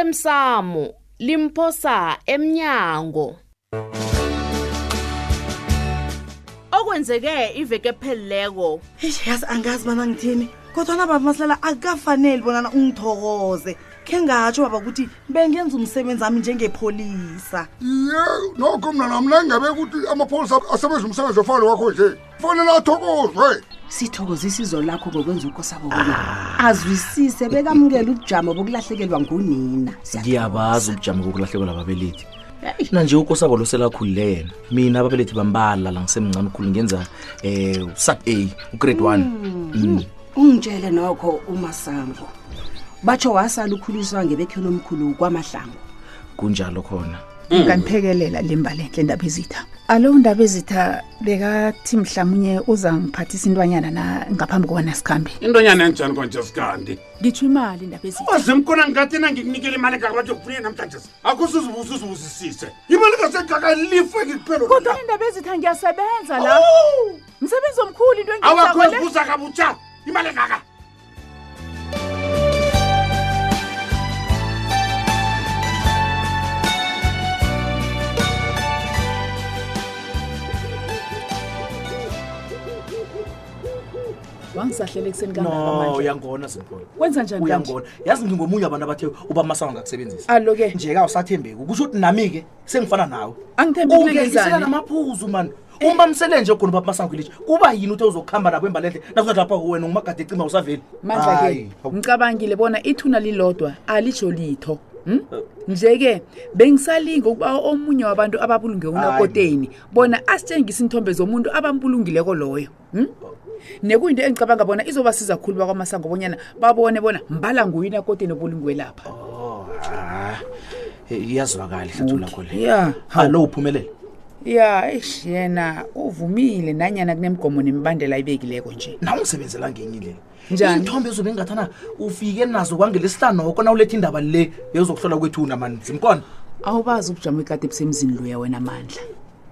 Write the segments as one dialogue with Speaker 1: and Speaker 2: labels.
Speaker 1: osemsamo limphosa emnyango okwenzeke iveke pheleleko
Speaker 2: eish yazi angazi bana ngithini kodwana baba masilela akukafaneli bonana ungithokoze khe ngatsho baba ukuthi bengenza umsebenzi wami njengepholisa
Speaker 3: ye nokho mna namna engabe ukuthi amapholisa asebenza umsebenzi ofana wakho nje kufanele athokozwe
Speaker 4: sithokoze isizo lakho ngokwenza ukosabo kuyo azwisise bekamukela ubujamo bokulahlekelwa ngunina
Speaker 5: ngiyabazi ubujamo bokulahlekelwa ababelethi na nje ukosabo lo selakhulile yena mina ababelethi bambala la ngisemncane khulu ngenza um sub a ugrade one Mm.
Speaker 4: ungitshele nokho umasango batsho wasala ukhuliswa ngebekheni omkhulu kwamahlango
Speaker 5: kunjalo khona
Speaker 6: ngangiphekelela limbalenhle indaba ezitha alo ndaba ezitha bekathi mhlawumnye uzangiphathisa intwanyana na ngaphambi kobana sikhambe
Speaker 7: intonyana enjani konje sikandi
Speaker 6: ngitsho imali indaba ezitha
Speaker 7: ozemkhona ngikathena ngikunikela imali engakabathi kufuneke namhlanje akho sizibusa uzibusisise imali ngasengakalife ngikuphelo
Speaker 6: kodwa indaba ezitha ngiyasebenza la msebenzi omkhulu into
Speaker 7: awakho
Speaker 6: engiyenzako le.
Speaker 7: zibusa kabutsha imali engaka
Speaker 6: wangisahlele ekuseni
Speaker 5: no
Speaker 6: kangaka
Speaker 5: uyangona zimkhona
Speaker 6: Wenza njani kanje?
Speaker 5: uyangona yazi ngingomunye abantu abathe uba masanga ngakusebenzisa
Speaker 6: alo-ke
Speaker 5: nje ka awusathembeki kusho ukuthi nami-ke sengifana nawe
Speaker 6: Angithembeki
Speaker 5: ungeisela
Speaker 6: ngenzani?
Speaker 5: namaphuzu mani umbamsele nje khona ubaba ilitshe kuba yini uthe uzokuhamba nabo embalenhle nakuzathi lapha kuwena ngumagade ecima usaveli
Speaker 6: mandla-ke
Speaker 5: Hayi.
Speaker 6: ngicabangile bona ithuna lilodwa alitsho litho Hmm? nje-ke bengisalinga ukuba omunye wabantu ababulunge unakoteni bona asitshengise iinthombe zomuntu abambulungileko loyo Hmm? nekuyinto engicabanga bona izobasiza khulu bakwamasango bonyana babone bona mbala nguyini akoteni obulungwe lapha
Speaker 5: Oh, Eh, iyazwakala ihlathulu lakho le
Speaker 6: ya
Speaker 5: alo uphumelele
Speaker 6: ya eish yena uvumile nanyana kunemigomo nemibandela ayibekileko nje
Speaker 5: nawe ungisebenzela ngenye indlela
Speaker 6: Njani?
Speaker 5: iy'thombe ezobe ngathana ufike nazo kwangelesitanoko nawuletha indaba le bezokuhlola kwethuna mani zimkona
Speaker 6: awubazi ubujamo ekade busemzini luya wena mandla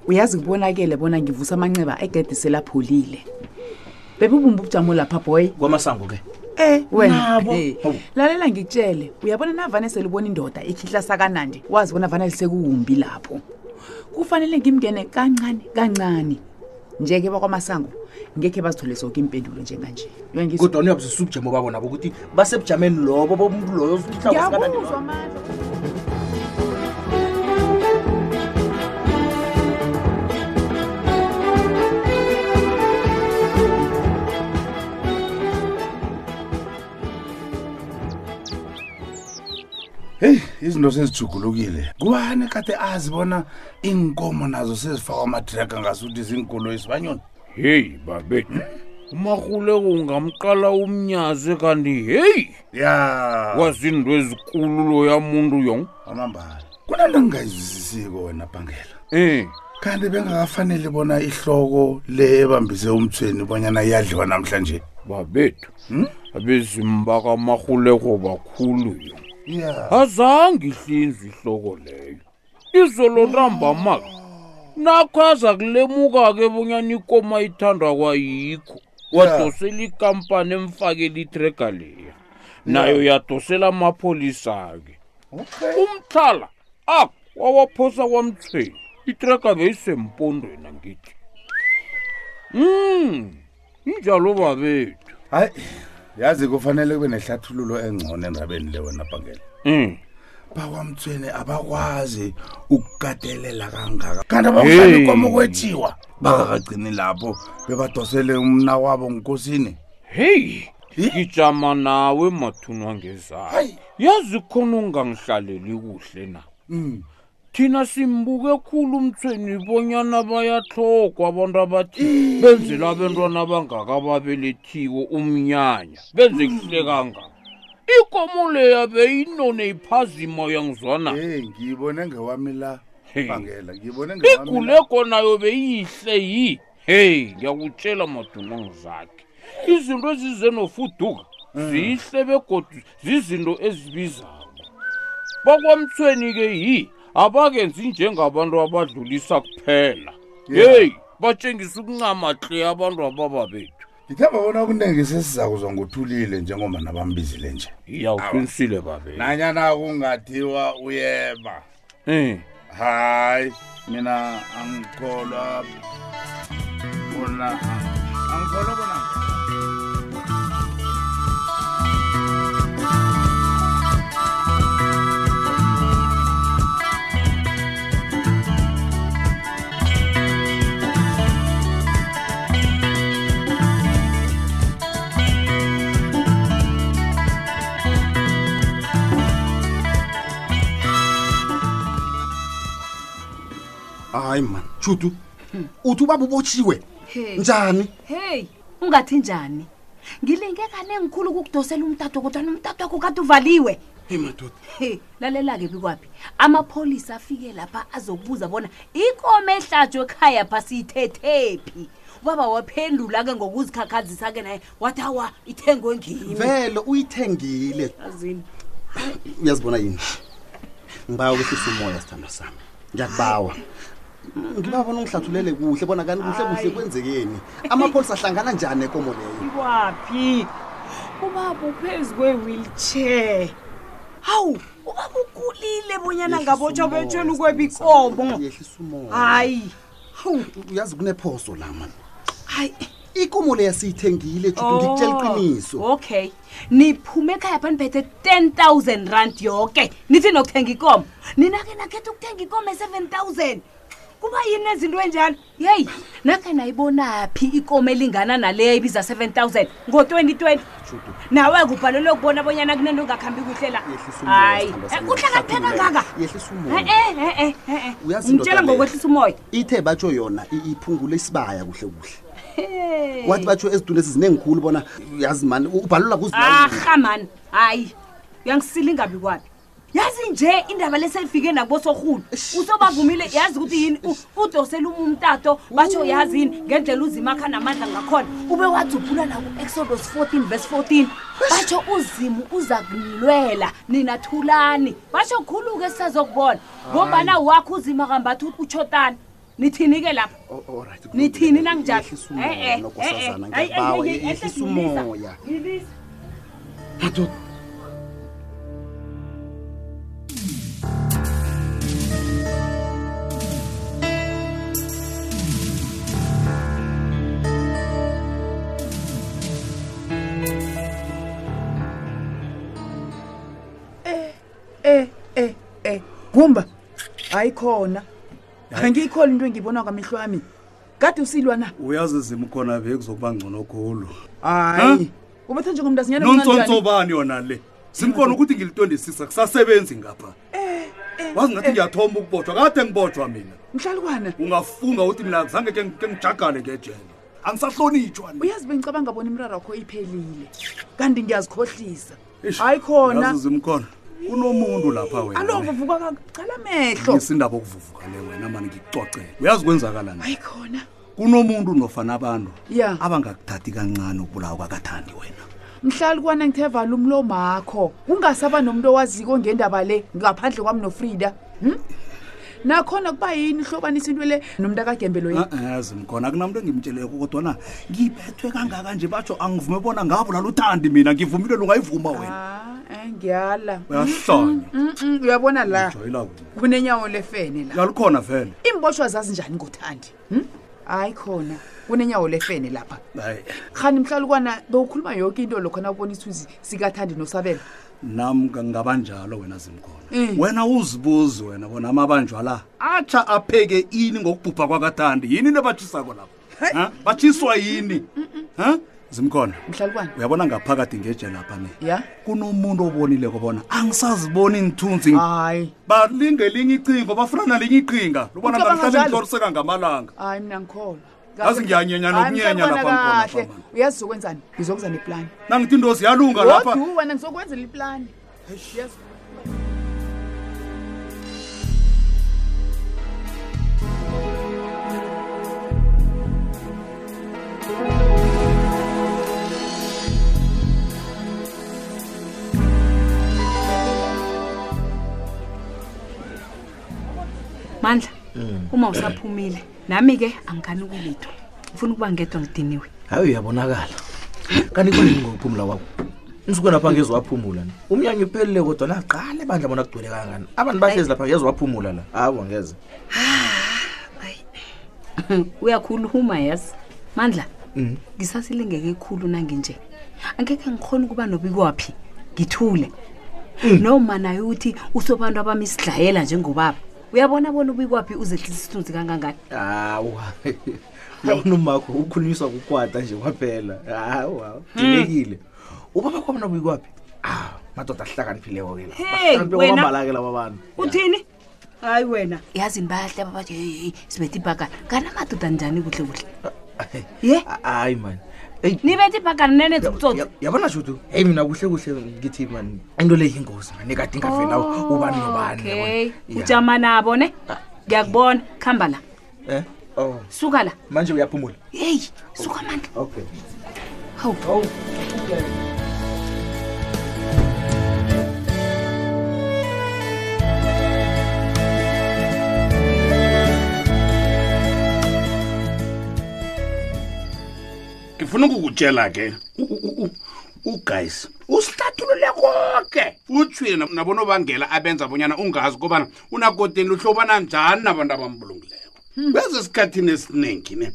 Speaker 6: uyazi kubonakele bona ngivusa amanceba egede selapholile bebubumba ubujamo lapha boy
Speaker 5: kwamasango-ke
Speaker 6: Eh wena
Speaker 5: nabo.
Speaker 6: eh,
Speaker 5: Hawu.
Speaker 6: lalela ngikutshele uyabona navane selibona indoda ikhihla sakanandi wazi bona vane lisekuwumbi lapho kufanele ngimngene kancane kancane njeke bakwamasango ngekhe bazithole zonke impendulo njenganje uyangizwa
Speaker 5: kodwa niyabuzisa ubujamo babo nabo ukuthi basebujameni lobo bomuntu loyo
Speaker 6: ngiyakuzwa mandla
Speaker 8: heyi izinto sezijugulukile kubani kade azi bona iinkomo nazo sezifakwa amadraga ngasuthi ziinkoloyi sibanyoni
Speaker 9: heyi babethu umarhuleko ungamqala umnyaze kanti heyi
Speaker 8: ya
Speaker 9: wazinto ezikulu loya muntu yong
Speaker 8: amambala kunanto ngingayizwisisiko wena bhangela
Speaker 9: um
Speaker 8: kanti bengakafanele bona ihloko le ebambise umthweni bonyana iyadliwa namhlanje
Speaker 9: babethu abezimba kamarhuleko bakhulu yong
Speaker 8: ya
Speaker 9: azange ihlinzwe ihloko leyo izolo ntambamaka nakho aza kulemuka-ke bonyana ikoma ithandwa kwayikho wadosela ikampani emfakela itrega leya nayo yadosela amapholisa-ke umtlhala ak wawaphosa kwamthweni itrega beyisempondweni angithi um injalo babethu
Speaker 8: hayi yazi kufanele kube nehlathululo engcono endabeni le wena bhangela
Speaker 9: um
Speaker 8: bakwamthweni abakwazi ukukatelela kangaka kanti abakuhlali
Speaker 9: Hey.
Speaker 8: kwama kwethiwa bakakagcini lapho bebadosele umna wabo ngukosini
Speaker 9: heyi
Speaker 8: Hi?
Speaker 9: ngijama nawe mathunwa ngezayo
Speaker 8: Hayi.
Speaker 9: yazi khona ungangihlaleli kuhle na
Speaker 8: Mm.
Speaker 9: thina simbuke khulu umthweni bonyana bayatlhogwa abantu abathi
Speaker 8: Mm.
Speaker 9: benzela abentwana bangakababelethiwo umnyanya benze kuhle kangaka
Speaker 8: Mm.
Speaker 9: ikomo leya beyinone iphazima uyangizwana
Speaker 8: hey ngiyibone ngewami la
Speaker 9: Hey.
Speaker 8: bangela ngiyibone ngewami
Speaker 9: iguleko nayo beyihle yi heyi ngiyakutshela madunangu zakhe izinto ezizenofuduka zihle begodu zizinto ezibizako bakwamthweni-ke yi abakenzi njengabantu abadlulisa kuphela
Speaker 8: Yeah.
Speaker 9: heyi batshengisa ukuncamatleya abantu ababa bethu
Speaker 8: ngithemba bona okuningi sesizakuzwa ngothulile njengoba nabambizile nje
Speaker 9: iyawuqinisile babe
Speaker 8: nanyana kungathiwa uyeba
Speaker 9: um
Speaker 8: hayi mina angikholwa bona angikholwa bona
Speaker 7: hayi mani shutu uthi ubaba ubotshiwe
Speaker 10: Hey.
Speaker 7: njani
Speaker 10: heyi ungathi njani ngilinge kanengikhulu ukukudosela umtato kodwana umtato wakho kade uvaliwe
Speaker 7: hey madoda
Speaker 10: he lalela-ke bikwaphi amapholisa afike lapha azokubuza bona ikomo ehlatshwe ekhaya phasi ithethephi ubaba waphendula-ke ngokuzikhakhazisa-ke naye wathi awa ithengwe ngimi
Speaker 7: vele uyithengile
Speaker 10: azini
Speaker 7: uyazibona yini ngibawa kwehlisa umoya sithando sami ngiyakubawa ngiba bona ungihlathulele kuhle bona kani kuhle kuhle kwenzekeni amapholisa ahlangana njani nekomo leyo
Speaker 10: ikwaphi ubaba uphezu kwe-wheelchair hawu ubaba ukulile bonyana ngabotshwa bethweni ukweba ikomo
Speaker 7: yehlisa umoya
Speaker 10: hayi hawu
Speaker 7: uyazi kunephoso la mani
Speaker 10: hayi
Speaker 7: ikomo leyo siyithengile jutu ngikutshela iqiniso
Speaker 10: Oh, okay niphume ekhaya phaniphethe 10 000 rand yoke nithi nokuthenga ikomo nina-ke nakhetha ukuthenga ikomo e-7 000 kuba yini ezinto enjalo yeyi nakhe nayibona phi ikomo elingana naleyo ibiza 7 000 ngo-2020 nawe kubhalelwe ukubona bonyana kunento ongakhambi kuhle la
Speaker 7: Yehlisa umoya,
Speaker 10: hayi
Speaker 7: sithandwa sami,
Speaker 10: kuhlakanipheka
Speaker 7: uhlathulule.
Speaker 10: ngaka Eh,
Speaker 7: Yehlisa umoya.
Speaker 10: e-e e-e
Speaker 7: Uyazi
Speaker 10: eh,
Speaker 7: indoda
Speaker 10: ngitshela
Speaker 7: le.
Speaker 10: ngokwehlisa umoya
Speaker 7: ithe batsho yona i- iphungule isibaya kuhle kuhle
Speaker 10: Hey.
Speaker 7: wathi batsho ezitulo ezizinengikhulu bona uyazi mani ubhalula
Speaker 8: Ah.
Speaker 7: kuzi
Speaker 10: arha mani hayi uyangisila ingabi kwabi yazi nje indaba leseyifike nakubosorhulu usobavumile yazi ukuthi yini u- udosele uma umtato batsho yazi yini ngendlela uzimakha namandla ngakhona ube wadzuphula naku-exodus 14 vs 14 batsho uzimu uza kunilwela nina thulani batsho khulu-ke sisazokubona ngombana wakho uzima kambathi utshotani nithini-ke lapha
Speaker 7: Oh,
Speaker 10: Nithini nanginjalo? Eh, eh, eh, eh,
Speaker 7: ngiyakubawa
Speaker 10: eh, eh, eh,
Speaker 7: yehlisa
Speaker 10: ngilisa,
Speaker 7: umoya
Speaker 10: ngilisa.
Speaker 6: e e e gumba hayi khona angiyikholi into engiyibona ngamehlo ami kade usilwa na
Speaker 11: uyazi zima khona be kuzokuba ngcono khulu
Speaker 6: hayi ubetha njengomntu
Speaker 11: nontsonso bani yona le simkhona ukuthi ngili-26 akusasebenzi ngapha
Speaker 6: Eh,
Speaker 11: wazi ngathi ngiyathomba ukubotshwa kade ngibotshwa mina
Speaker 6: mhlalukwana
Speaker 11: ungafunga ukuthi mina zange ke ngi- ke ngijagale ngejele angisahlonitshwa ni.
Speaker 6: uyazi bengicabanga bona imraro wakho iphelile kanti ngiyazikhohlisa
Speaker 11: Eish,
Speaker 6: hayi khona
Speaker 11: uyazi zimkhona unomuntu lapha wena
Speaker 6: alo
Speaker 11: we.
Speaker 6: vuvuka ka- cala amehlo
Speaker 11: ngisindaba okuvuvuka le wena mani ngikucocele uyazi kwenzakala na
Speaker 6: hayi khona
Speaker 11: kunomuntu nofana abantu
Speaker 6: Ya.
Speaker 11: abangakuthathi kancane ukubulawa kwakathandi wena
Speaker 6: mhlalukwana ngithe vala umlomo akho ungasaba nomuntu owaziko ngendaba le ngaphandle kwami nofrida hm? nakhona kuba yini uhlobanisa into le nomntu akagembelo yena
Speaker 11: azi mkhona kunamntu engimtsheleko kodwana ngibethwe kangaka nje batsho angivume bona ngabulala uthandi mina ngivumile lungayivuma wena
Speaker 6: Ah, eh, ngiyala
Speaker 11: uyahlanya
Speaker 6: Mm, mm, uyabona la
Speaker 11: joyela kuwe
Speaker 6: kunenyawo lefene la
Speaker 11: yalukhona vele
Speaker 6: imbotshwa zazi njani ngothandi hm? hayi khona kunenyawo lefene lapha
Speaker 11: hayi
Speaker 6: khani mhlalukwana bewukhuluma yonke into lokhona ubona ithuzi sikathandi nosabela
Speaker 11: nam ngabanjalo wena zimkhona
Speaker 6: Mm.
Speaker 11: wena uzibuzi wena bona amabanjwa la atsha apheke ini ngokubhubha kwakathandi yini into batshisako lapho Ha? batshiswa yini Ha? zimkhona
Speaker 6: mhlalukwana
Speaker 11: uyabona ngaphakathi ngejelapha ne
Speaker 6: ya
Speaker 11: kunomuntu obonile kobona angisaziboni inthunzi
Speaker 6: hayi
Speaker 11: balinga elinye icingo bafuna nalinye iqinga lubona
Speaker 6: Ucabanga
Speaker 11: namhlanje
Speaker 6: njalo?
Speaker 11: ngihloliseka ngamalanga
Speaker 6: hayi mina ngikholwa
Speaker 11: Yazi ngiyanyenya nokunyenya lapha ngikhona lapha, man.
Speaker 6: uyazi zokwenzani ngizokwenza neplani
Speaker 11: nangithi into ziyalunga lapha
Speaker 6: odu wena ngizokwenzela iplani Yazi-
Speaker 10: Mm. mandla uma usaphumile nami-ke angikhani ukulitho ngifuna ukuba ngedwa ngidiniwe
Speaker 5: hayi uyabonakala kanti kwanini ngokuphumula kwakho nisuke lapha ngeziwaphumula ni umnyanya uphelile kodwa naqala ebandla bona kugcwele kangani abantu bahlezi lapha ngeze waphumula la hawa ngeze
Speaker 10: uyakhuluma yazi mandla
Speaker 5: Mhm.
Speaker 10: Mm. ngisasilingeke khulu nanginje angekhe ngikhona ukuba nobikwaphi ngithule noma naye uthi usobantu abami sidlayela njengobaba uyabona bona ubikwaphi uzehlisa isithunzi kangangani
Speaker 5: hawa unomakho ukhulunyiswa kukwata nje kwaphela hawa
Speaker 10: Hmm.
Speaker 5: dilekile ubaba kwabona buyikwaphi a madoda ahlakaniphileko-ke la
Speaker 10: Hey, wena.
Speaker 5: kwambalake laba bantu
Speaker 10: uthini hayi wena yazi nibahle babathi heyi sibethe ibhakana kanamadoda njani kuhle kuhle ye
Speaker 5: hayi mani
Speaker 10: nibethe ibhakana nenenzukutsotsi
Speaker 5: yabona shutu heyi mina kuhle kuhle ngithi mani into le yingozi mani ekade ingavela ubani nobani
Speaker 10: Oh,
Speaker 5: yabona. Ah.
Speaker 10: okay
Speaker 5: Yeah.
Speaker 10: ujama nabo ne ngiyakubona kuhamba la
Speaker 5: Eh? Oh.
Speaker 10: suka la
Speaker 5: manje uyaphumula
Speaker 10: heyi suka mandla
Speaker 5: okay
Speaker 10: hawu
Speaker 11: ngifuna ukukutshela ke u- u- u- uguys usihlathulule konke utshwile nab- nabonobangela abenza bonyana ungazi kobana unakoteni luhlobana njani nabantu abambulungileko beze esikhathini esiningi ne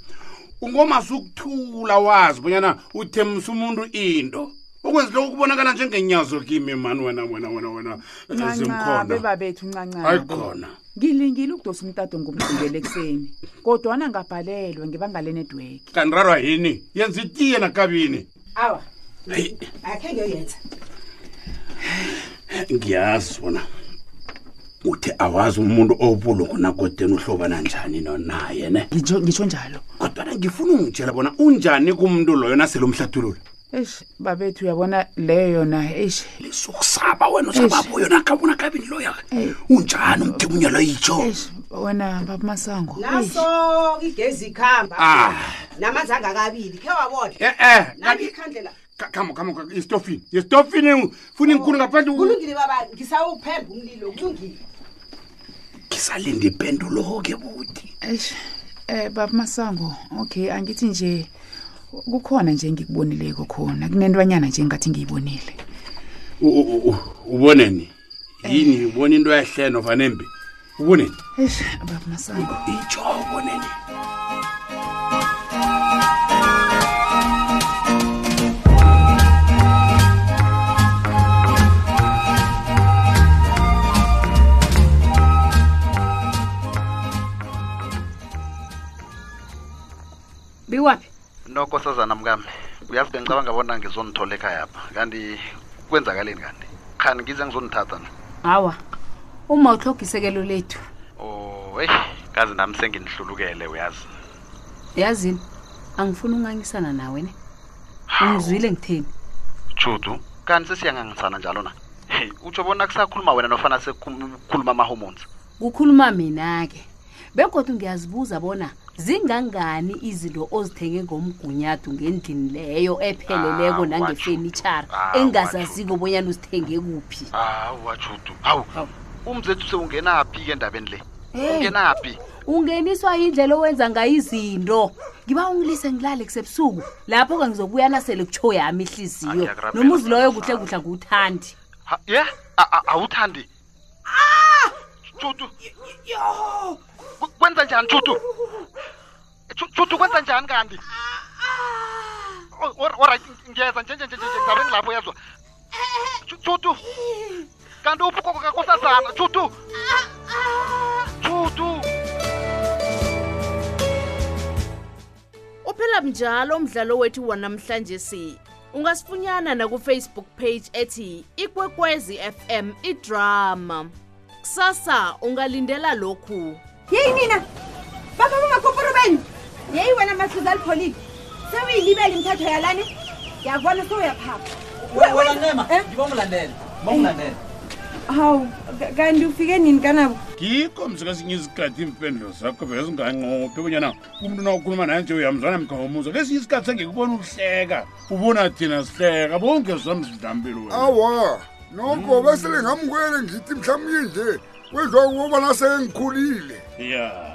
Speaker 11: ungomase ukuthula wazi bonyana uthemisa umuntu into okwenziloko ukubonakala njengenyazo kimi mani wena wena wena wena eh,
Speaker 6: ncancabe
Speaker 11: zimkhona
Speaker 6: babethu ncancabe
Speaker 11: ayikhona
Speaker 6: ngilingile ukudosa umtato ngomgqibelo ekuseni kodwana ngabhalelwa ngebanga lenetwork
Speaker 11: kanirarwa yini yenza itiye nakabini
Speaker 6: awa
Speaker 11: Hey.
Speaker 12: akhe ngiyoyenza
Speaker 11: ngiyazi wona uthi awazi umuntu obulungu nakodeni uhlobana njani nonaye ne
Speaker 6: ngitsho njalo
Speaker 11: kodwana ngifuna ungitshela bona unjani kumuntu loyo nasele umhlathulula
Speaker 6: eish babethu uyabona leyo yona eish
Speaker 11: lisukusaba wena usababo yona kabona kabini loya unjani umdimunye loyitsho
Speaker 6: wena babamasango
Speaker 12: naso Oh, igezi ikhamba
Speaker 11: Ah.
Speaker 12: namanzi angakabili khe wabona
Speaker 11: Eh, eh,
Speaker 12: nami ikhandlela
Speaker 11: kamo kamo istofini yestofini funa ngikhulu ngaphandle
Speaker 12: kulungile baba ngisawuphemba umlilo kulungile
Speaker 11: ngisalinde ipendulo-ke buti
Speaker 6: eish um babamasango okay angithi nje kukhona nje engikubonileko khona kunentwanyana nje engathi ngiyibonile
Speaker 11: U- u- u- uboneni yini ubona into yahle nofanembi uboneni
Speaker 6: eish babamasango
Speaker 11: itsho uboneni
Speaker 10: biwaphi
Speaker 13: nonkosazana mkami uyazi bengicabanga bona ngizonithola ekhayapha kanti kwenzakaleni kanti khani ngize ngizonithatha na
Speaker 10: hawa uma utlhoga isekelo lethu
Speaker 13: o Oh, eyi kazi nami senginihlulukele uyazi
Speaker 10: yazini angifuni ungangisana nawe ne ungizwile ngitheni
Speaker 13: judu kanti sesiyangangisana njalo na hey utsho bona kusakhuluma wena nofana sekukhuluma ama-hormones
Speaker 10: kukhuluma mina-ke begodwa ngiyazibuza bona zingangani izinto ozithenge ngomgunyadu ngendlini leyo epheleleko
Speaker 5: Ah,
Speaker 13: Awa,
Speaker 10: nangefenitshara
Speaker 13: Awa,
Speaker 10: engingazaziko bonyana uzithenge kuphi
Speaker 13: hawa judu hawu umzethu sewungenaphi-ke endabeni le
Speaker 10: Hey.
Speaker 13: ungenaphi
Speaker 10: ungeniswa indlela owenza ngayo izinto ngiba ungilise ngilale kusebusuku lapho-ke ngizobuya nasele kutsho yami ihliziyo
Speaker 13: Ngiyakurabhela,
Speaker 10: nomuzi loyo kuhle kuhle nguthandi
Speaker 13: Ha- ye A- a- awuthandi judu Kw- kwenza njani judu Ju- judu kwenza njani kanti O- or- oright ngiyeza njenjenjenjenje ngizabe ngilapho yezwa Ju- judu kanti uphi ugogo kakosazana judu judu
Speaker 1: uphela mnjalo umdlalo wethu wanamhlanje si ungasifunyana nakufacebook page ethi ikwekwezi fm idrama kusasa ungalindela lokhu
Speaker 2: yeyi nina baba bomakoporo benu yeyi wena mahluzi alipholile sewuyilibele imithetho yalane yabona sewuyaphapha
Speaker 14: ngibomlandela bomlandela
Speaker 2: hawu ka- Eh, kanti ufike nini kanabo
Speaker 11: ngikho mzi kwesinye isikhathi iimpendulo zakho bezinganqophi bonyana umntu nawukhuluma naye nje uyamzwana mkha womuza kwesinye isikhathi sengikubona uhleka ubona thina sihleka bongezamsidlampilo
Speaker 8: awa noko besele ngamkwele ngithi mhlawumnye nje wenziwa kuboba nasengikhulile
Speaker 11: ya